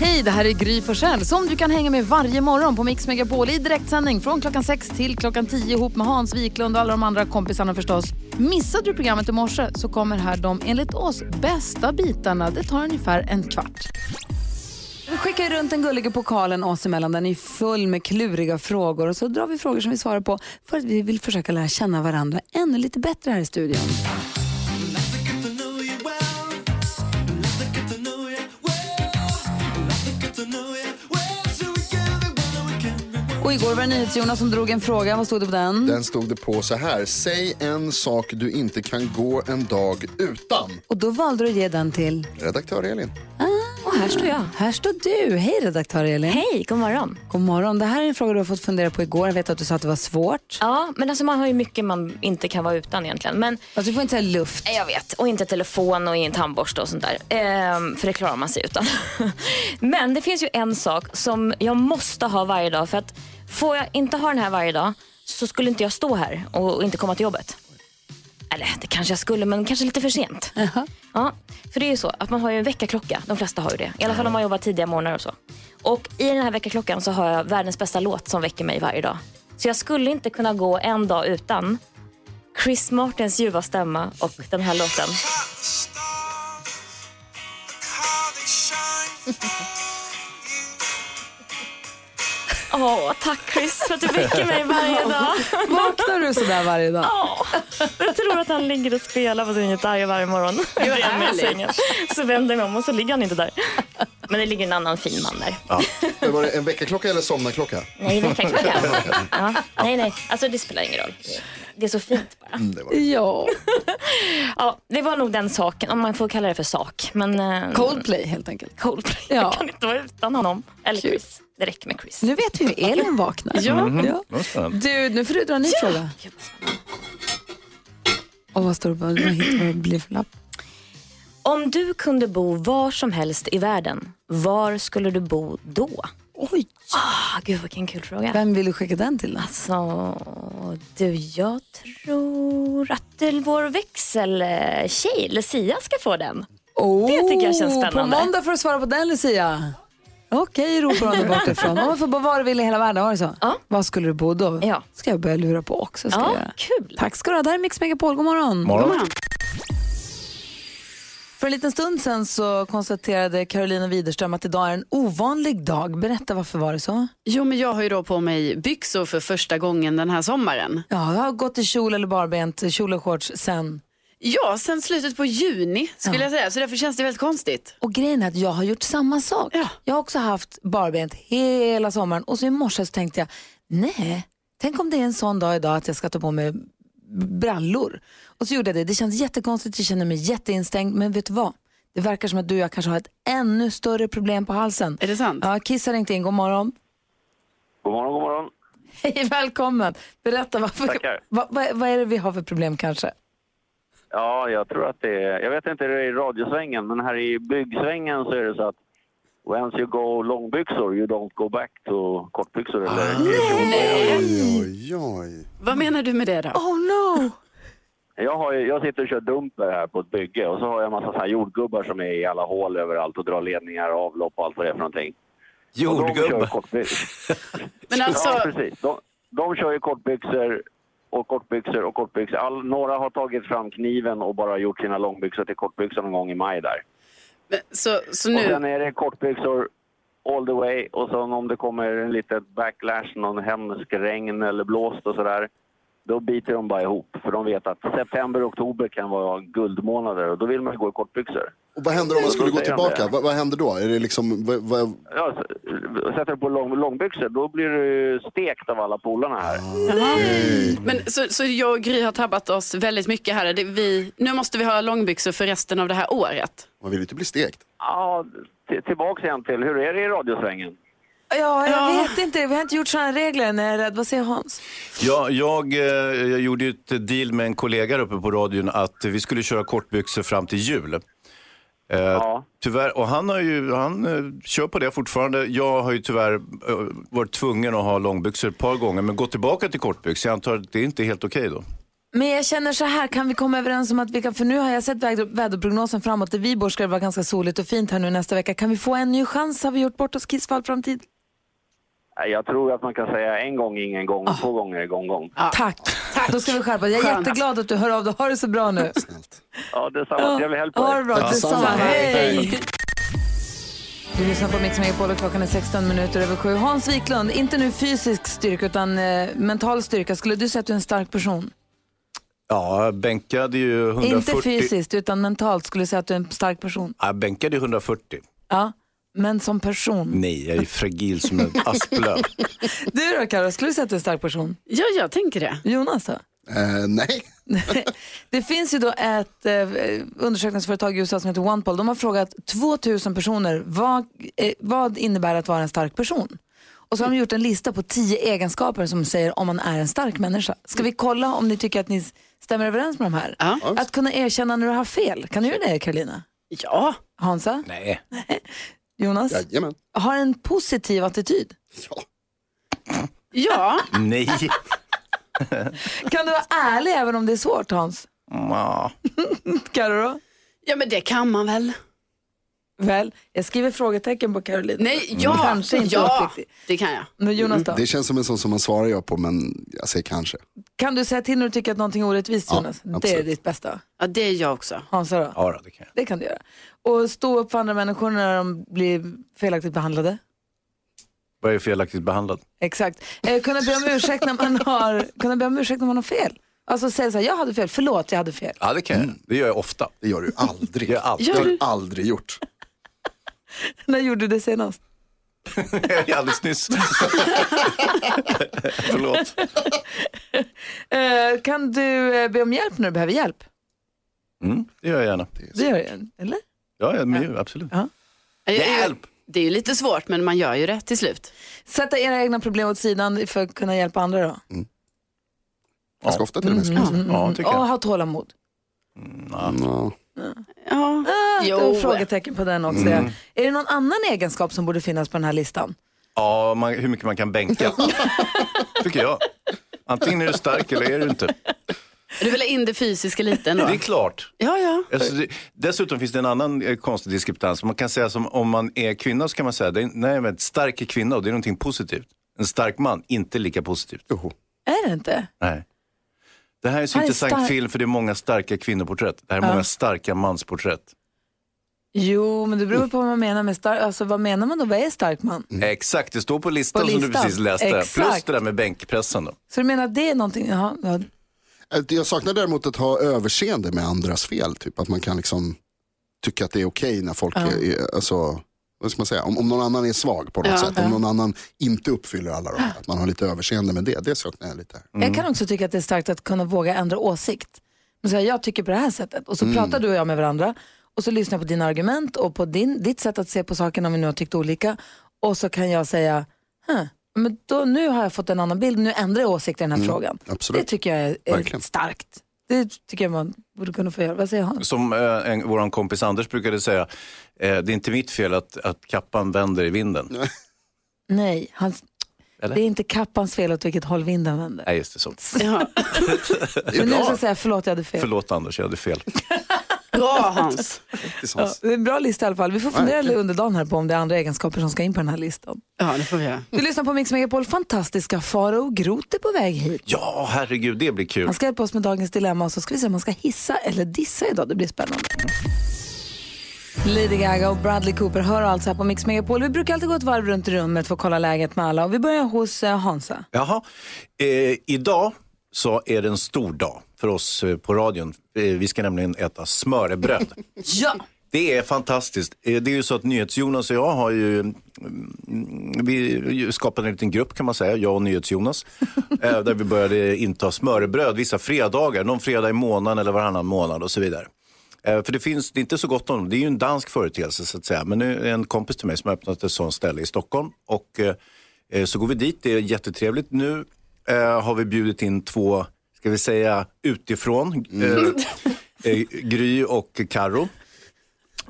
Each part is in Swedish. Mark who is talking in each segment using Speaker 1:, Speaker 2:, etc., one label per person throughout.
Speaker 1: Hej, det här är Gry Forssell som du kan hänga med varje morgon på Mix Megapol i direktsändning från klockan 6 till klockan 10 ihop med Hans Wiklund och alla de andra kompisarna förstås. Missade du programmet i morse så kommer här de enligt oss bästa bitarna. Det tar ungefär en kvart. Vi skickar ju runt den gulliga pokalen oss emellan. Den är full med kluriga frågor och så drar vi frågor som vi svarar på för att vi vill försöka lära känna varandra ännu lite bättre här i studion. Och igår var det NyhetsJonas som drog en fråga. Vad stod det på den?
Speaker 2: Den stod det på så här. Säg en sak du inte kan gå en dag utan.
Speaker 1: Och då valde du att ge den till...
Speaker 2: Redaktör Elin.
Speaker 1: Och här står jag. Här står du. Hej redaktör Elin.
Speaker 3: Hej, god morgon.
Speaker 1: God morgon. Det här är en fråga du har fått fundera på igår. Jag vet att du sa att det var svårt.
Speaker 3: Ja, men alltså man har ju mycket man inte kan vara utan egentligen. Men
Speaker 1: Alltså du får inte säga luft.
Speaker 3: eh, jag vet, och inte telefon och ingen tandborste och sånt där. Ehm, för det klarar man sig utan. men det finns ju en sak som jag måste ha varje dag för att får jag inte ha den här varje dag så skulle inte jag stå här och och inte komma till jobbet. Eller det kanske jag skulle, men kanske lite för sent. Ja, för det är ju så att man har ju en väckarklocka. De flesta har ju det. I alla fall om man jobbar tidiga morgnar och så. Och i den här väckarklockan så har jag världens bästa låt som väcker mig varje dag. Så jag skulle inte kunna gå en dag utan Chris Martins ljuva stämma och den här låten. Åh, tack Chris för att du väcker mig varje dag.
Speaker 1: Vaknar du sådär varje dag?
Speaker 3: Ja, jag tror att han ligger och spelar på sin gitarr varje morgon. Gör jag med i sängen. Så vänder jag mig om och så ligger han inte där. Men det ligger en annan fin man där.
Speaker 2: Det Var det en väckarklocka eller somnarklocka?
Speaker 3: Nej, väckarklocka. Ja. Nej, nej. Alltså det spelar ingen roll. Det är så fint bara.
Speaker 2: Mm, det var det.
Speaker 1: Ja.
Speaker 3: Ja, det var nog den saken, om man får kalla det för sak. Men eh,
Speaker 1: Coldplay helt enkelt.
Speaker 3: Coldplay.
Speaker 1: Ja.
Speaker 3: Jag kan inte vara utan honom. Eller
Speaker 1: Kul.
Speaker 3: Chris. Det räcker med Chris.
Speaker 1: Nu vet vi hur Elin vaknar. ja.
Speaker 4: Det var spännande.
Speaker 1: Du, nu får du dra en ny fråga. Och vad står det på vad hittar du- vad blir för lapp?
Speaker 3: Om du kunde bo var som helst i världen, var skulle du bo då?
Speaker 1: Oj,
Speaker 3: Ah, gud vilken kul fråga.
Speaker 1: vem vill du skicka den till då?
Speaker 3: Så du, jag tror att det- vår växeltjej Lucia ska få den.
Speaker 1: Oh,
Speaker 3: tycker jag känns spännande.
Speaker 1: På måndag får du svara på den Lucia. Okej, ropar hon där bortifrån. Om man får bara vara du vill i hela världen, var det så?
Speaker 3: Ja.
Speaker 1: Var skulle du bo då?
Speaker 3: Ja.
Speaker 1: ska jag börja lura på också. Ska jag
Speaker 3: Ja,
Speaker 1: göra.
Speaker 3: kul.
Speaker 1: Tack ska du ha. Det här är Mix Megapol. God morgon.
Speaker 4: Morgon.
Speaker 1: För en liten stund sedan så konstaterade Carolina Widerström att idag är en ovanlig dag. Berätta, varför var det så?
Speaker 5: Jo, men jag har ju då på mig byxor för första gången den här sommaren.
Speaker 1: Ja, jag har gått i kjol eller barbent, kjol och shorts sen.
Speaker 5: Ja, sen slutet på juni skulle jag säga, så därför känns det väldigt konstigt.
Speaker 1: Och grejen är att jag har gjort samma sak.
Speaker 5: Ja.
Speaker 1: Jag har också haft barbent hela sommaren och så i morse så tänkte jag, nej, tänk om det är en sån dag idag att jag ska ta på mig brallor. Och så gjorde jag det. Det känns jättekonstigt, jag känner mig jätteinstängd, men vet du vad? Det verkar som att du och jag kanske har ett ännu större problem på halsen.
Speaker 5: Är det sant?
Speaker 1: Ja, Kiss har ringt in. God morgon.
Speaker 6: God morgon, god morgon.
Speaker 1: Hej, välkommen. Berätta, varför,
Speaker 6: Tackar.
Speaker 1: vad, vad, vad är det vi har för problem kanske?
Speaker 6: Ja, jag tror att det är... Jag vet inte hur det är i radiosvängen, men här i byggsvängen så är det så att once you go långbyxor, you don't go back to kortbyxor eller
Speaker 2: Oj, oj, oj.
Speaker 5: Vad menar du med det då?
Speaker 1: Oh no!
Speaker 6: jag, har, ju- jag sitter och kör dumper här på ett bygge och så har jag en massa så här jordgubbar som är i alla hål överallt och drar ledningar och avlopp och allt vad det är för någonting. Och de kör
Speaker 4: Jordgubbe.
Speaker 6: kortbyxor.
Speaker 5: Men
Speaker 6: Ja,
Speaker 5: alltså,
Speaker 6: precis. De, de kör ju kortbyxor och kortbyxor och kortbyxor. All, några har tagit fram kniven och bara gjort sina långbyxor till kortbyxor någon gång i maj där.
Speaker 5: men- så, så
Speaker 6: Och sen
Speaker 5: nu,
Speaker 6: är det kortbyxor all the way och sen om det kommer en liten backlash, någon hemsk regn eller blåst och sådär. Då biter de bara ihop för de vet att september och oktober kan vara guldmånader och då vill man ju gå i kortbyxor.
Speaker 2: Och vad händer om man skulle gå tillbaka? Vad, vad händer då? Är det liksom... Vad, vad,
Speaker 6: Ja, s- sätter du på lång, långbyxor då blir du stekt av alla polarna här.
Speaker 5: men, så, så jag och Gry har tabbat oss väldigt mycket här. Det, vi, nu måste vi ha långbyxor för resten av det här året.
Speaker 2: man vill ju inte bli stekt.
Speaker 6: Ja, t- tillbaks igen till hur är det i radiosvängen?
Speaker 1: Ja, jag
Speaker 5: Ja.
Speaker 1: vet inte. Vi har inte gjort sådana regler när jag är rädd. Vad säger Hans?
Speaker 4: Ja, jag, eh, jag gjorde ju ett deal med en kollega där uppe på radion att vi skulle köra kortbyxor fram till jul. Eh,
Speaker 6: Ja.
Speaker 4: Tyvärr, och han, har ju, han eh, kör på det fortfarande. Jag har ju tyvärr eh, varit tvungen att ha långbyxor ett par gånger men gått tillbaka till kortbyxor. Jag antar att det är inte är helt okej då.
Speaker 1: Men jag känner så här, kan vi komma överens om att vi kan, för nu har jag sett väder, väderprognosen framåt, i Viborg ska det vara ganska soligt och fint här nu nästa vecka. Kan vi få en ny chans? Har vi gjort bort oss Kiss för all framtid?
Speaker 6: Nej, Jag tror att man kan säga en gång ingen gång, två gånger gång gång.
Speaker 1: Tack. Då ska vi skärpa Jag är
Speaker 5: Skönt.
Speaker 1: jätteglad att du hör av dig. Ha det så bra nu.
Speaker 6: Ja, detsamma. Trevlig helg på
Speaker 1: Ha det
Speaker 6: er.
Speaker 1: bra. Detsamma.
Speaker 2: Detsamma.
Speaker 1: Hej. Du lyssnar på Mix Megapol och klockan är 16 minuter över sju. Hans Wiklund, inte nu fysisk styrka utan eh, mental styrka. Skulle du säga att du är en stark person?
Speaker 4: Ja, jag bänkade ju 140.
Speaker 1: Inte fysiskt utan mentalt. Skulle du säga att du är en stark person?
Speaker 4: Ja, jag bänkade ju 140.
Speaker 1: Ja, men som person.
Speaker 4: Nej, jag är fragil som en asplöv.
Speaker 1: Du då Karo, skulle du säga att du är en stark person?
Speaker 5: Ja, jag tänker det.
Speaker 1: Jonas då?
Speaker 2: Eh, nej.
Speaker 1: Det finns ju då ett eh, undersökningsföretag i USA som heter OnePoll. De har frågat 2000 personer vad, eh, vad innebär att vara en stark person? Och så har de gjort en lista på 10 egenskaper som säger om man är en stark människa. Ska vi kolla om ni tycker att ni s- stämmer överens med de här?
Speaker 5: Ja.
Speaker 1: Att kunna erkänna när du har fel. Kan du göra det Karolina?
Speaker 5: Ja,
Speaker 1: Hansa?
Speaker 4: Nej.
Speaker 1: Jonas?
Speaker 2: Jajamän.
Speaker 1: Har en positiv attityd.
Speaker 2: Ja.
Speaker 5: ja.
Speaker 4: Nej.
Speaker 1: Kan du vara ärlig även om det är svårt Hans?
Speaker 4: Ja.
Speaker 1: Karo då?
Speaker 5: ja men det kan man väl.
Speaker 1: Väl, jag skriver frågetecken på Karolina.
Speaker 5: Nej, ja,
Speaker 1: Kanske inte
Speaker 5: ja
Speaker 1: riktigt.
Speaker 5: det kan jag.
Speaker 1: Men Jonas då?
Speaker 2: Det känns som en sån som man svarar ja på, men jag säger kanske.
Speaker 1: Kan du säga till när du tycker att någonting är orättvist
Speaker 2: Ja,
Speaker 1: Jonas? Det är
Speaker 2: absolut.
Speaker 1: ditt bästa.
Speaker 5: Ja, det är jag också.
Speaker 1: Hansa då?
Speaker 4: ja, då, det kan jag.
Speaker 1: Det kan du göra. Och stå upp för andra människor när de blir felaktigt behandlade.
Speaker 4: Var jag felaktigt behandlad?
Speaker 1: Exakt. Eh, kunna, be om ursäkt när man har, kunna be om ursäkt när man har fel. Alltså säga så här, jag hade fel, förlåt jag hade fel.
Speaker 4: Ja, det kan jag. Det gör jag ofta.
Speaker 2: Det gör du aldrig.
Speaker 4: Mm. Jag gör allt.
Speaker 2: Det har du aldrig gjort.
Speaker 1: När gjorde du det senast?
Speaker 4: Alldeles nyss. Förlåt.
Speaker 1: Eh, kan du eh, be om hjälp när du behöver hjälp?
Speaker 4: Mm, det gör jag gärna.
Speaker 1: Det gör jag, eller?
Speaker 4: Ja, ja, men ju, absolut. Hjälp!
Speaker 5: Det är ju lite svårt, men man gör ju det till slut.
Speaker 1: Sätta era egna problem åt sidan för att kunna hjälpa andra då.
Speaker 2: Ganska ofta till och med. skulle jag säga.
Speaker 5: Mm.
Speaker 4: Ja, tycker
Speaker 1: Mm. Och
Speaker 4: jag.
Speaker 1: ha tålamod.
Speaker 2: Ja.
Speaker 5: Ja.
Speaker 1: Ah,
Speaker 5: Jo.
Speaker 1: det var frågetecken på den också. ja. Är det någon annan egenskap som borde finnas på den här listan?
Speaker 4: Ja, man, hur mycket man kan bänka. Tycker jag. Antingen är du stark eller är du inte.
Speaker 5: Du vill ha in det fysiska lite ändå?
Speaker 4: Det är klart.
Speaker 5: Ja, ja.
Speaker 4: Alltså, det, dessutom finns det en annan eh, konstig diskrepans. Man kan säga som om man är kvinna så kan man säga det är, nej, men stark är kvinna och det är någonting positivt. En stark man, inte lika positivt.
Speaker 2: Joho.
Speaker 1: Är det inte?
Speaker 4: Nej. Det här är en så
Speaker 1: Han är
Speaker 4: intressant
Speaker 1: stark.
Speaker 4: film för det är många starka kvinnoporträtt. Det här är många starka mansporträtt.
Speaker 1: Jo, men det beror på vad man menar med stark. Alltså vad menar man då? Vad är stark man?
Speaker 4: Exakt, det står på listan,
Speaker 1: Mm. På
Speaker 4: som du
Speaker 1: listan.
Speaker 4: precis läste.
Speaker 1: Exakt.
Speaker 4: Plus det där med bänkpressen. Då.
Speaker 1: Så du menar att det är någonting? Jaha, ja.
Speaker 2: Eh, Jag saknar däremot att ha överseende med andras fel. Typ att man kan liksom tycka att det är okej när folk är, är alltså, vad ska man säga? Om, om någon annan är svag på något
Speaker 5: Ja.
Speaker 2: sätt. Om någon annan inte uppfyller alla de här. Att man har lite överseende med det. Det saknar jag lite.
Speaker 1: Jag kan också tycka att det är starkt att kunna våga ändra åsikt. Men så här, jag tycker på det här sättet och så
Speaker 2: Mm.
Speaker 1: pratar du och jag med varandra och så lyssnar jag på dina argument och på din, ditt sätt att se på saken om vi nu har tyckt olika. Och så kan jag säga, huh, men då, nu har jag fått en annan bild, nu ändrar jag åsikt i den här frågan.
Speaker 2: Mm, absolut.
Speaker 1: Det tycker jag är, är
Speaker 2: Verkligen.
Speaker 1: starkt. Det tycker jag man borde kunna få göra. Vad säger han?
Speaker 4: Som eh, en, vår kompis Anders brukade säga, eh, det är inte mitt fel att, att kappan vänder i vinden.
Speaker 1: Nej, hans,
Speaker 4: Eller?
Speaker 1: det är inte kappans fel åt vilket håll vinden vänder.
Speaker 4: Nej, just det. Så.
Speaker 5: ja.
Speaker 2: Det är
Speaker 1: Men nu ska
Speaker 2: bra.
Speaker 1: jag säga förlåt, jag hade fel.
Speaker 4: Förlåt Anders, jag hade fel.
Speaker 5: Bra Hans.
Speaker 1: Ja, det är en bra lista i alla fall. Vi får fundera lite under dagen här på om det är andra egenskaper som ska in på den här listan.
Speaker 5: Ja, det får vi göra.
Speaker 1: Du lyssnar på Mix Megapol. Fantastiska Faro Groth är på väg hit.
Speaker 4: Ja, herregud, det blir kul.
Speaker 1: Han ska hjälpa oss med dagens dilemma och så ska vi se om man ska hissa eller dissa idag. Det blir spännande. Lady Gaga och Bradley Cooper hör alltså här på Mix Megapol. Vi brukar alltid gå ett varv runt rummet för att kolla läget med alla. Och vi börjar hos eh, Hansa.
Speaker 4: Jaha. Eh, idag så är det en stor dag för oss eh, på radion. Eh, vi ska nämligen äta smörrebröd.
Speaker 1: Ja!
Speaker 4: Det är fantastiskt. Eh, Det är ju så att NyhetsJonas och jag har ju, mm, vi skapade en liten grupp kan man säga, jag och NyhetsJonas. eh, där vi började inta smörrebröd vissa fredagar, någon fredag i månaden eller varannan månad och så vidare. Eh, För det finns det är inte så gott om dem. Det är ju en dansk företeelse så att säga. Men nu är en kompis till mig som har öppnat ett sånt ställe i Stockholm. Och eh, eh, så går vi dit, det är jättetrevligt. Nu eh, har vi bjudit in två, ska vi säga utifrån, eh, eh, Gry och Karo.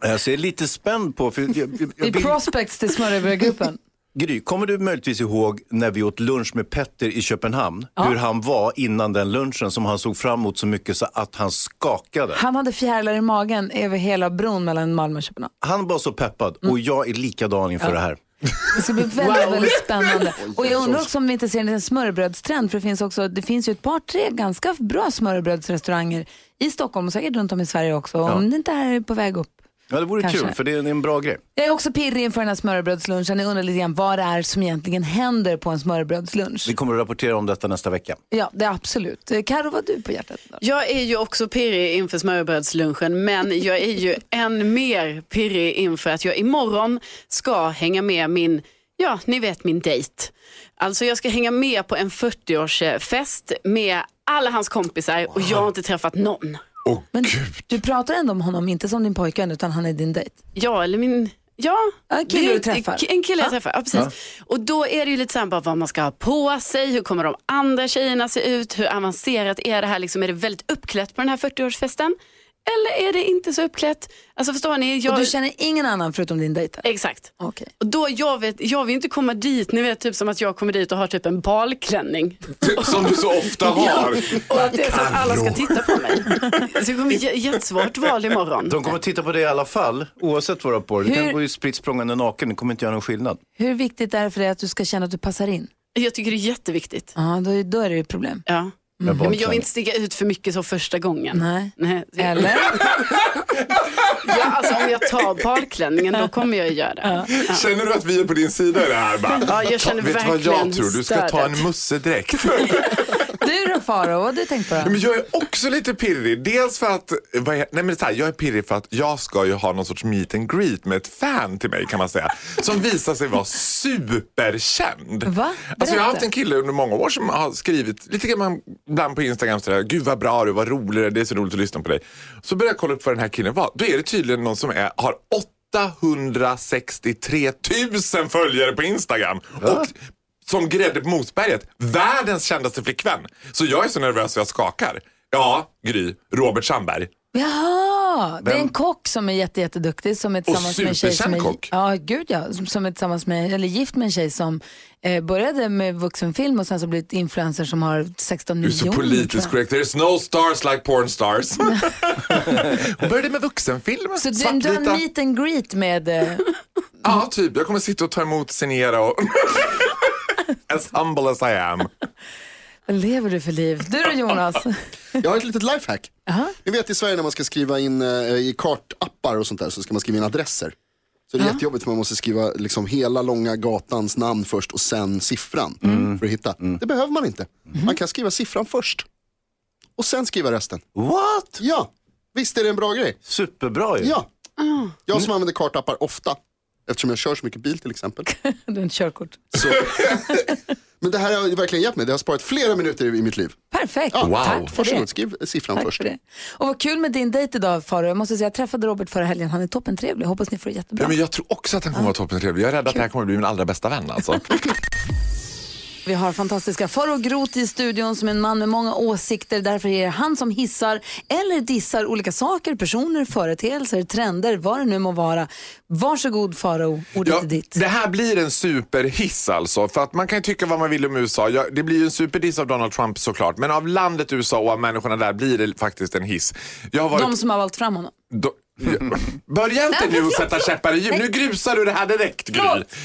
Speaker 4: Eh, Så jag är lite spänd på, för jag, jag, jag
Speaker 1: I prospects till smörrebrödgruppen.
Speaker 4: Gry, kommer du möjligtvis ihåg när vi åt lunch med Petter i Köpenhamn? Hur han var innan den lunchen som han såg fram emot så mycket så att han skakade.
Speaker 1: Han hade fjärilar i magen över hela bron mellan Malmö och Köpenhamn.
Speaker 4: Han var så peppad och jag är likadan inför det här.
Speaker 1: Det ska bli väldigt, väldigt spännande. Och jag undrar också om vi inte ser en liten smörrebrödstrend, för det finns, också, det finns ju ett par, tre ganska bra smörrebrödsrestauranger i Stockholm och säkert runt om i Sverige också, om det inte här är på väg upp.
Speaker 4: Ja, det vore
Speaker 1: Kanske.
Speaker 4: kul för det är en- det är en bra grej.
Speaker 1: Jag är också pirrig inför den här smörrebrödslunchen. Jag undrar lite grann vad det är som egentligen händer på en smörrebrödslunch.
Speaker 4: Vi kommer att rapportera om detta nästa vecka.
Speaker 1: Ja, det är absolut. Eh, Karo, vad har du på hjärtat? idag?
Speaker 5: Jag är ju också pirrig inför smörrebrödslunchen men jag är ju än mer pirrig inför att jag imorgon ska hänga med min, ja ni vet min dejt. Alltså jag ska hänga med på en 40-årsfest med alla hans kompisar och jag har inte träffat någon.
Speaker 1: Men du pratar ändå om honom, inte som din pojkvän, utan han är din dejt.
Speaker 5: Ja, eller min... Ja,
Speaker 1: Ja, en kille
Speaker 5: det är
Speaker 1: du träffar.
Speaker 5: En kille jag träffar, ja, precis. Och då är det ju lite så här bara vad man ska ha på sig, hur kommer de andra tjejerna se ut, hur avancerat är det här, liksom, är det väldigt uppklätt på den här 40-årsfesten? Eller är det inte så uppklätt? Alltså förstår ni? Jag...
Speaker 1: Och du känner ingen annan förutom din dejt? här?
Speaker 5: Exakt.
Speaker 1: Okej.
Speaker 5: Och då jag, vet, jag vill inte komma dit, ni vet typ som att jag kommer dit och har typ en balklänning.
Speaker 7: Som du så ofta har.
Speaker 5: Och att det är så att alla ska titta på mig. Så det kommer bli j- jättesvårt val imorgon.
Speaker 4: De kommer att titta på det i alla fall, oavsett vad du har på dig. Du
Speaker 1: Hur- Mm.
Speaker 4: kan gå ju spritt språngande naken, det kommer inte göra någon skillnad.
Speaker 1: Hur viktigt är det för dig att du ska känna att du passar in?
Speaker 5: Jag tycker det är jätteviktigt.
Speaker 1: Ja, då, då är det ju ett problem.
Speaker 5: Ja.
Speaker 4: Med
Speaker 5: Ja, men jag
Speaker 4: barnkläder.
Speaker 5: vill inte sticka ut för mycket så första gången.
Speaker 1: Nej.
Speaker 5: Nej.
Speaker 1: Eller?
Speaker 5: Ja, alltså, om jag tar balklänningen då kommer jag ju göra det. Ja,
Speaker 7: Känner du att vi är på din sida i det här? Bara,
Speaker 5: ja jag känner
Speaker 7: Vet du vad
Speaker 5: verkligen
Speaker 7: jag tror? Du ska ta
Speaker 5: stödet.
Speaker 7: en mussedräkt.
Speaker 1: Du då Faro, vad har du tänkt på?
Speaker 7: Ja,
Speaker 1: Då?
Speaker 7: Men jag är också lite pirrig. Dels för att, vad är, nej men så här, jag är pirrig för att jag ska ju ha någon sorts meet and greet med ett fan till mig kan man säga. Som visar sig vara superkänd.
Speaker 1: Va?
Speaker 7: Alltså jag har
Speaker 1: Berätta.
Speaker 7: haft en kille under många år som har skrivit lite grann ibland på Instagram sådär, gud vad bra du, vad rolig du är, det är så roligt att lyssna på dig. Så börjar jag kolla upp vad den här killen var. Då är det tydligen någon som är, har 863 000 följare på Instagram. Och som grädde på mosberget, världens kändaste flickvän. Så jag är så nervös så jag skakar. Ja, Gry, Robert Sandberg.
Speaker 1: Jaha, det är en kock som är jätte, jätteduktig som är tillsammans med en tjej som är,
Speaker 7: superkänd kock.
Speaker 1: ja, gud ja, som- som är tillsammans med, eller gift med en tjej som eh, började med vuxenfilm och sen så blivit influencer som har 16
Speaker 7: Du är
Speaker 1: miljoner.
Speaker 7: så
Speaker 1: tror jag.
Speaker 7: politiskt korrekt. There's no stars like porn stars. Hon började med vuxenfilm.
Speaker 1: Så du, du har en
Speaker 7: svartvita.
Speaker 1: meet and greet med, eh,
Speaker 7: Ja, typ. Jag kommer sitta och ta emot, signera och... as humble as I am.
Speaker 1: vad lever du för liv? Du då Jonas?
Speaker 2: Jag har ett litet lifehack. Ni vet i Sverige när man ska skriva in eh, i kartappar och sånt där så ska man skriva in adresser. Så det är jättejobbigt för man måste skriva liksom hela långa gatans namn först och sen siffran för att hitta. Det behöver man inte. Man kan skriva siffran först och sen skriva resten.
Speaker 4: What?
Speaker 2: Ja, visst är det en bra grej?
Speaker 4: Superbra ju.
Speaker 2: Ja.
Speaker 1: Ah.
Speaker 2: Jag som använder kartappar ofta, eftersom jag kör så mycket bil till exempel.
Speaker 1: Du har ett körkort.
Speaker 2: Så. Men det här har ju verkligen hjälpt mig. Det har sparat flera minuter i mitt liv.
Speaker 1: Perfekt,
Speaker 2: Ja,
Speaker 1: tack för det.
Speaker 2: Varsågod, skriv siffran
Speaker 1: Tack
Speaker 2: först.
Speaker 1: för det. Och vad kul med din dejt idag Faro. Jag måste säga, jag träffade Robert förra helgen. Han är toppentrevlig. Hoppas ni får det jättebra.
Speaker 7: Ja, men jag tror också att han kommer vara toppentrevlig. Jag är rädd att det här kommer bli min allra bästa vän. Alltså.
Speaker 1: Vi har fantastiska Faro Groth i studion som är en man med många åsikter. Därför är det han som hissar eller dissar olika saker, personer, företeelser, trender, vad det nu må vara. Varsågod Faro, ordet
Speaker 7: Ja,
Speaker 1: är ditt.
Speaker 7: det här blir en superhiss alltså. För att man kan ju tycka vad man vill om USA. Ja, det blir ju en superdiss av Donald Trump såklart. Men av landet USA och av människorna där blir det faktiskt en hiss. Jag har varit...
Speaker 1: De som har valt fram honom.
Speaker 7: Då- Börja inte nu att sätta käppar i hjul. Nu grusar du det här direkt Gry.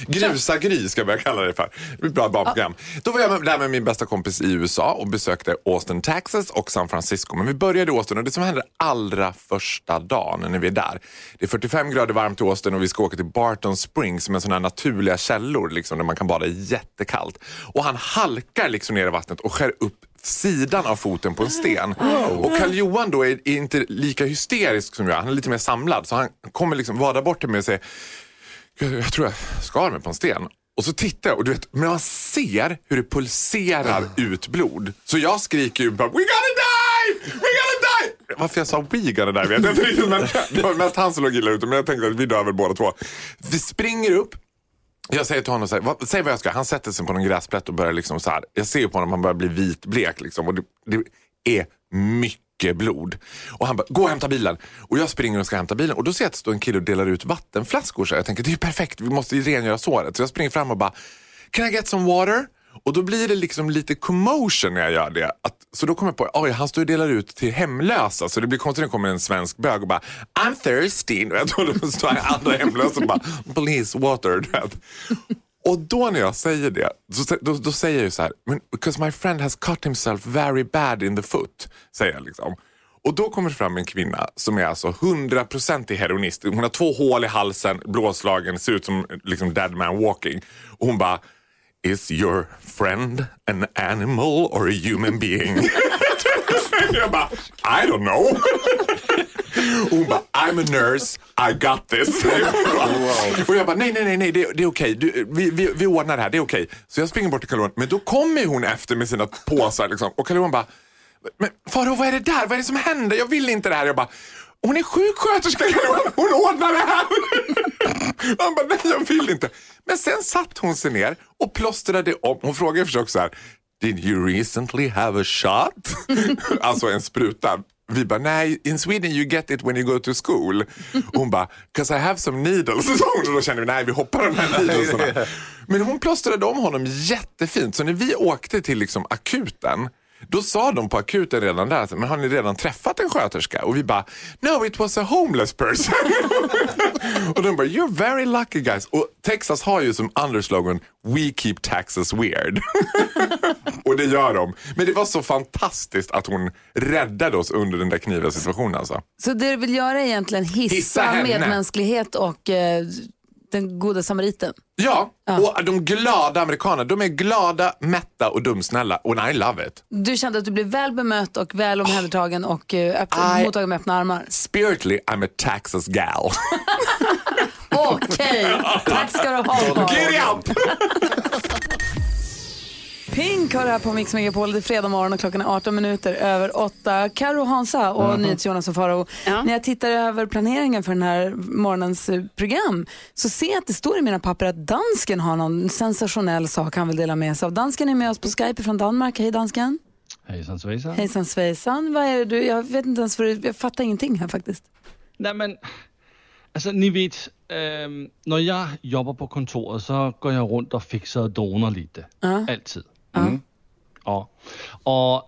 Speaker 7: Grusa Gry ska jag börja kalla det för. Det blir ett bra barnprogram. Då var jag med, där med min bästa kompis i USA och besökte Austin, Texas och San Francisco. Men vi började i Austin och det som händer allra första dagen när vi är där. Det är 45 grader varmt i Austin och vi ska åka till Barton Springs som är sådana här naturliga källor liksom, där man kan bada jättekallt. Och han halkar liksom ner i vattnet och skär upp sidan av foten på en sten. Och Karl Johan då är, är inte lika hysterisk som jag, han är lite mer samlad. Så han kommer liksom vada bort till mig och säger jag, jag tror jag skar mig på en sten. Och så tittar jag och du vet, men man ser hur det pulserar ut blod. Så jag skriker ju bara We gonna die! We gonna die! Varför jag sa we gonna die vet jag inte riktigt. Men det var mest han som låg illa ute men jag tänkte att vi dör väl båda två. Vi springer upp. Jag säger till honom, så här, "Vad- säg vad jag ska. Han sätter sig på någon gräsplätt och börjar liksom så här. Jag ser ju på honom, han börjar bli vitblek liksom. Och det, det är mycket mycket blod. Och han bara, gå och hämta bilen. Och jag springer och ska hämta bilen och då ser jag att det står en kille och delar ut vattenflaskor. Så jag tänker, det är ju perfekt, vi måste ju rengöra såret. Så jag springer fram och bara, can I get some water? Och då blir det liksom lite commotion när jag gör det. Att, så då kommer jag på, oj han står och delar ut till hemlösa. Så det blir konstigt när det kommer en svensk bög och bara, I'm thirsty. Du vet, Och då står andra hemlösa och bara, please water. Du vet. Och då när jag säger det, så, då, då säger jag ju så här, "Men, because my friend has cut himself very bad in the foot. Säger jag liksom. Och då kommer det fram en kvinna som är alltså 100% heroinist. Hon har två hål i halsen, blåslagen, ser ut som liksom dead man walking. Och hon bara, Is your friend an animal or a human being? jag bara, I don't know. Och hon bara, I'm a nurse, I got this. Och jag bara, nej, nej, nej, nej det, det är okej. Du, Vi, vi, vi ordnar det här, det är okej. Så jag springer bort till Carl-Johan, men då kommer hon efter med sina påsar. Liksom. Och Carl-Johan bara, men Faro, vad är det där? Vad är det som händer? Jag vill inte det här. Jag bara, hon är sjuksköterska, Carl-Johan. hon ordnar det här. Han bara, nej jag vill inte. Men sen satt hon sig ner och plåstrade om. Hon frågade försök så här, did you recently have a shot? alltså en spruta. Vi bara, nej, in Sweden you get it when you go to school. Och hon bara, 'cause I have some needles. Så hon, och då kände vi, nej vi hoppar de här needlesarna. Men hon plåstrade om honom jättefint. Så när vi åkte till liksom akuten, då sa de på akuten redan där, men har ni redan träffat en sköterska? Och vi bara, no it was a homeless person. och de bara, you're very lucky guys. Och Texas har ju som underslogan, we keep taxes weird. och det gör de. Men det var så fantastiskt att hon räddade oss under den där kniviga situationen alltså.
Speaker 1: Så det du vill göra är egentligen hissa,
Speaker 7: Hissa henne.
Speaker 1: medmänsklighet och eh, den goda samariten.
Speaker 7: Ja, och de glada amerikanerna, de är glada, mätta och dumsnälla. Och I love it.
Speaker 1: Du kände att du blev väl bemött och väl omhändertagen och eh, öppna,
Speaker 7: I-
Speaker 1: mottagen med öppna armar.
Speaker 7: Spiritly, I'm a Texas gal.
Speaker 1: Okej, tack ska du ha. Carl.
Speaker 7: Giddy up!
Speaker 1: Pink har det här på Mix Megapol. Det är fredag morgon och klockan är 18 minuter över 8. Karo Hansa och NyhetsJonas och Farao.
Speaker 5: Ja.
Speaker 1: När jag tittar över planeringen för den här morgonens eh, program så ser jag att det står i mina papper att dansken har någon sensationell sak han vill dela med sig av. Dansken är med oss på Skype från Danmark. Hej dansken.
Speaker 8: Hejsan svejsan.
Speaker 1: Hejsan svejsan. Vad är det du? Jag vet inte ens vad du... Jag fattar ingenting här faktiskt.
Speaker 8: Nej men, altså ni vet, øhm, når jeg jobber på kontoret, så går jeg rundt og fikser og doner lidt. Altid. Mm. Og, og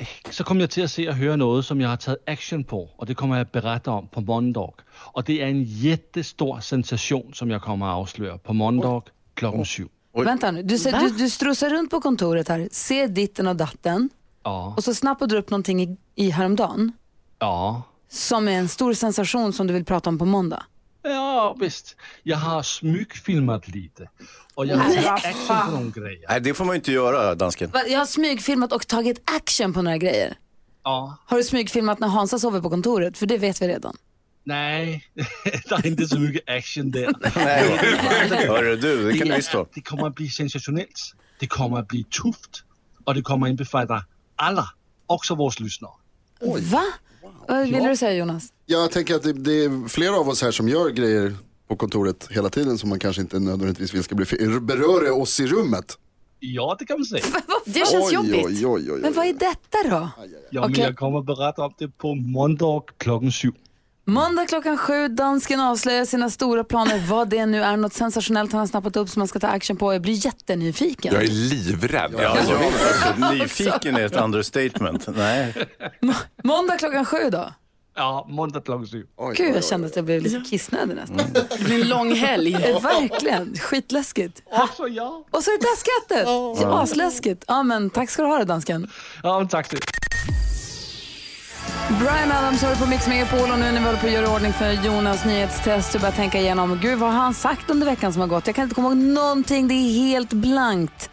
Speaker 8: øh, så kom jeg til at se og høre noget, som jeg har taget action på, og det kommer jeg at berette om på Mondog. Og det er en jättestor sensation, som jeg kommer at afsløre på Mondog klokken syv.
Speaker 1: Vänta nu. Du, ser, du, du strosar runt på kontoret här, ser ditten och datten
Speaker 8: Ja,
Speaker 1: och så snappar du upp någonting i, i häromdagen.
Speaker 8: ja.
Speaker 1: som är en stor sensation som du vill prata om på måndag.
Speaker 8: Ja, visst. Jeg har smygfilmet lidt, og jeg har taget action på nogle grejer.
Speaker 4: Nej, det får man ju inte göra, dansken.
Speaker 1: Va, Jag har smygfilmat och tagit action på några grejer.
Speaker 8: Ja.
Speaker 1: Har du smygfilmat när Hansa sover på kontoret? För det vet vi redan.
Speaker 8: Nej, der er ikke så mycket action der.
Speaker 4: Nej, Hörru du, det kan du visst ha.
Speaker 8: det kommer at blive sensationelt. Det kommer at blive tuft. Og det kommer at indbefatte alle, også vores lyssnere.
Speaker 1: Va? Vad ville du säga Jonas?
Speaker 2: Jag tänker att det, det är flera av oss här som gör grejer på kontoret hela tiden som man kanske inte nödvändigtvis vill ska bli fe- beröra oss i rummet.
Speaker 8: Ja, det kan man säga.
Speaker 3: Det känns
Speaker 2: oj,
Speaker 3: jobbigt.
Speaker 2: Oj, oj, oj,
Speaker 1: Men vad är
Speaker 2: oj.
Speaker 1: detta då?
Speaker 8: Ja, men
Speaker 1: Okay.
Speaker 8: Jeg kommer at berette om det på måndag klokken syv.
Speaker 1: Måndag klockan sju, dansken avslöjar sina stora planer. Vad det nu är, något sensationellt han har snappat upp som man ska ta action på. Jag blir jättenyfiken.
Speaker 7: Jag är livrädd.
Speaker 4: Ja, alltså, alltså, nyfiken är ett understatement. Nej.
Speaker 1: Måndag klockan sju då?
Speaker 8: Ja, måndag klokken syv.
Speaker 1: Gud, jag kände att jag blev lite kissnödig nästan.
Speaker 5: Det blir en lång helg.
Speaker 1: Eh, Verkligen, skitläskigt.
Speaker 8: Også jeg.
Speaker 1: Och så det där skrattet! Det är Asläskigt. Ja, men tack ska du ha det dansken.
Speaker 8: Ja, men tak til.
Speaker 1: Brian Adams hör på Mix Megapol och nu när vi håller på att göra i ordning för Jonas nyhetstest så börjar jag tänka igenom, gud vad har han sagt under veckan som har gått? Jag kan inte komma ihåg någonting, det är helt blankt.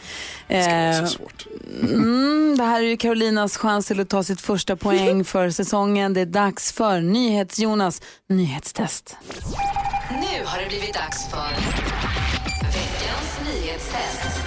Speaker 1: Eh,
Speaker 2: Så svårt.
Speaker 1: mm, det här är ju Carolinas chans till att ta sitt första poäng för säsongen. Det är dags för NyhetsJonas nyhetstest.
Speaker 9: Nu har det blivit dags för veckans nyhetstest.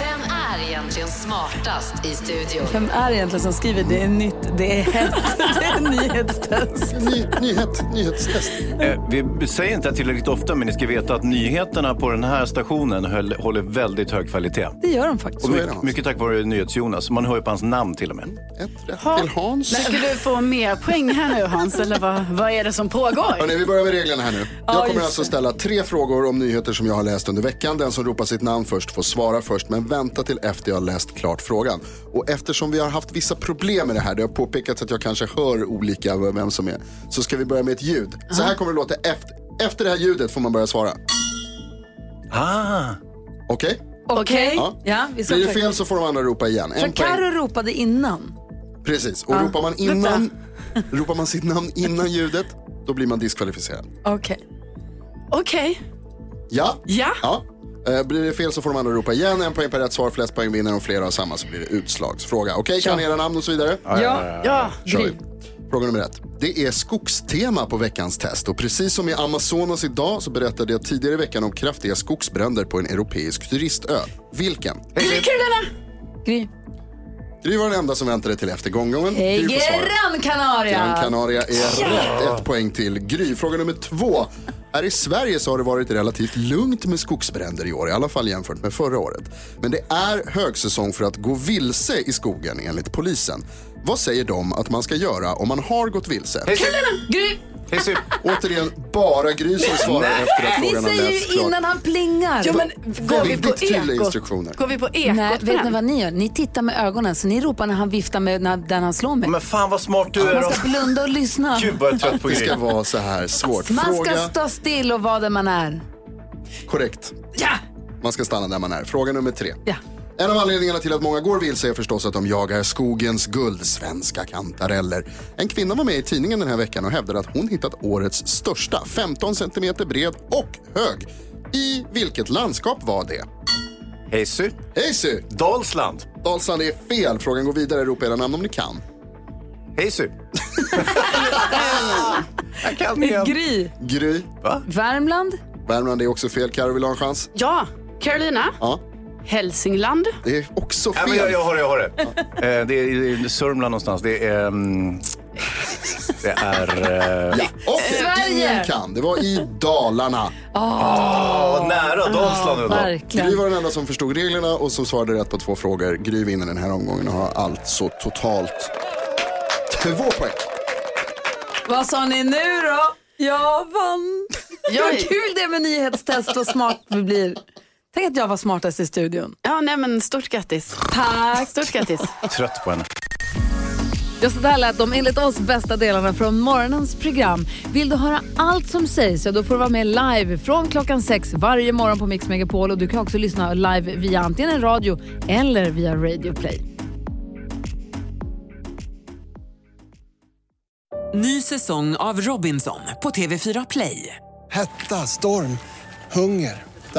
Speaker 9: Vem är egentligen smartast i studion?
Speaker 1: Vem är det egentligen som skriver det är nytt, det är hett, det är nyhet? Nyhetstest.
Speaker 2: Ny, nyhet, nyhetstest.
Speaker 4: Eh, vi säger inte tillräckligt ofta, men ni ska veta att nyheterna på den här stationen höll, håller väldigt hög kvalitet.
Speaker 1: Det gör de faktiskt.
Speaker 4: Och
Speaker 2: det,
Speaker 4: mycket,
Speaker 2: alltså.
Speaker 4: mycket tack vare NyhetsJonas. Man hör ju på hans namn till och med.
Speaker 2: Ett rätt till Hans.
Speaker 5: Tycker du få mer poäng här nu Hans, eller vad, vad är det som pågår?
Speaker 2: Hörrni, vi börjar med reglerna här nu.
Speaker 1: Ja,
Speaker 2: Jag kommer
Speaker 1: just
Speaker 2: alltså ställa tre frågor om nyheter som jag har läst under veckan. Den som ropar sitt namn först får svara först, men vänta till efter jag har läst klart frågan. Och eftersom vi har haft vissa problem med det här, det har påpekats att jag kanske hör olika vem som är, så ska vi börja med ett ljud. Så här kommer det låta efter, efter det här ljudet får man börja svara.
Speaker 4: Ah,
Speaker 2: Okej?
Speaker 1: Okej.
Speaker 2: Ja.
Speaker 1: Ja, vi ska
Speaker 2: Blir det
Speaker 1: försöka.
Speaker 2: fel så får de andra ropa igen.
Speaker 1: För
Speaker 2: En poäng.
Speaker 1: Carro ropade innan.
Speaker 2: Precis, och ropar man innan, ropar man sitt namn innan ljudet, då blir man diskvalificerad.
Speaker 1: Okej.
Speaker 5: Okej,
Speaker 2: Ja?
Speaker 5: ja.
Speaker 2: Ja. Eh, Blir det fel så får de andra ropa igen. En poäng per rätt svar, flest poäng vinner. Om flera har samma så blir det utslagsfråga. Okej, kan ni era namn och så vidare?
Speaker 1: Ja.
Speaker 5: ja.
Speaker 2: Kör vi. Fråga nummer ett. Det är skogstema på veckans test och precis som i Amazonas idag så berättade jag tidigare i veckan om kraftiga skogsbränder på en europeisk turistö. Vilken?
Speaker 1: Gry.
Speaker 2: Gry var den enda som väntade till efter gånggången. Gry får svara.
Speaker 1: Gran Canaria.
Speaker 2: Gran Canaria är rätt. Ett poäng till Gry. Fråga nummer två. Här i Sverige så har det varit relativt lugnt med skogsbränder i år, i alla fall jämfört med förra året. Men det är högsäsong för att gå vilse i skogen enligt polisen. Vad säger de att man ska göra om man har gått vilse?
Speaker 1: Gry.
Speaker 4: Hessu,
Speaker 2: Återigen, bara Gry som svarar efter att
Speaker 1: Ni
Speaker 2: frågan har
Speaker 1: säger
Speaker 2: lästs
Speaker 1: ju
Speaker 2: klart.
Speaker 1: innan han plingar.
Speaker 5: Ja, men går vi på
Speaker 2: Väldigt tydliga
Speaker 5: ekot?
Speaker 2: instruktioner.
Speaker 5: Går vi på ekot
Speaker 1: Nej,
Speaker 5: på
Speaker 1: vet ni
Speaker 5: den?
Speaker 1: vad ni gör? Ni tittar med ögonen, så ni ropar när han viftar med när, den han slår med.
Speaker 4: men fan vad smart du är.
Speaker 1: Man ska blunda och lyssna.
Speaker 4: Gud vad jag är trött på
Speaker 2: Det ska
Speaker 4: grejer.
Speaker 2: vara så här svårt.
Speaker 1: Man ska
Speaker 2: Fråga
Speaker 1: stå still och vara där man är.
Speaker 2: korrekt.
Speaker 1: Ja!
Speaker 2: Man ska stanna där man är. Fråga nummer tre.
Speaker 1: Ja.
Speaker 2: En av anledningarna till att många går vilse är förstås att de jagar skogens guld, svenska kantareller. En kvinna var med i tidningen den här veckan och hävdade att hon hittat årets största, 15 centimeter bred och hög. I vilket landskap var det?
Speaker 4: Hessu,
Speaker 2: Hejsy!
Speaker 4: Dalsland.
Speaker 2: Dalsland är fel. Frågan går vidare. Ropa era namn om ni kan.
Speaker 4: Hessu. jag kan igen.
Speaker 1: Gry.
Speaker 2: Gry.
Speaker 1: Värmland.
Speaker 2: Värmland är också fel. Carro vill ha en chans.
Speaker 5: Ja, Carolina,
Speaker 2: Ja,
Speaker 5: Hälsingland.
Speaker 2: det är också
Speaker 4: Ja,
Speaker 2: fel.
Speaker 4: men jag, jag har det, jag har det. Eh, Det är i Sörmland någonstans. Det är... ehm, Det är... eh,
Speaker 2: Och
Speaker 1: Sverige.
Speaker 2: ingen kan. Det var i Dalarna.
Speaker 4: Vad nära Dalsland ändå.
Speaker 1: Verkligen.
Speaker 2: Gry var den enda som förstod reglerna och som svarade rätt på två frågor. Gry vinner den här omgången och har alltså totalt två poäng.
Speaker 1: Vad sa ni nu då? Jag vann.
Speaker 5: Jag-
Speaker 1: Vad kul det är med nyhetstest och smart vi blir. Tänk att jag var smartast i studion.
Speaker 5: Ja, nej men stort grattis.
Speaker 1: Tack.
Speaker 5: Stort grattis.
Speaker 4: Trött på henne.
Speaker 1: Just så där lät de enligt oss bästa delarna från morgonens program. Vill du höra allt som sägs så då får du vara med live från klockan sex varje morgon på Mix Megapol. Och du kan också lyssna live via antingen en radio eller via Radio Play.
Speaker 10: Ny säsong av Robinson på TV4 Play.
Speaker 11: Hetta, storm, hunger. Det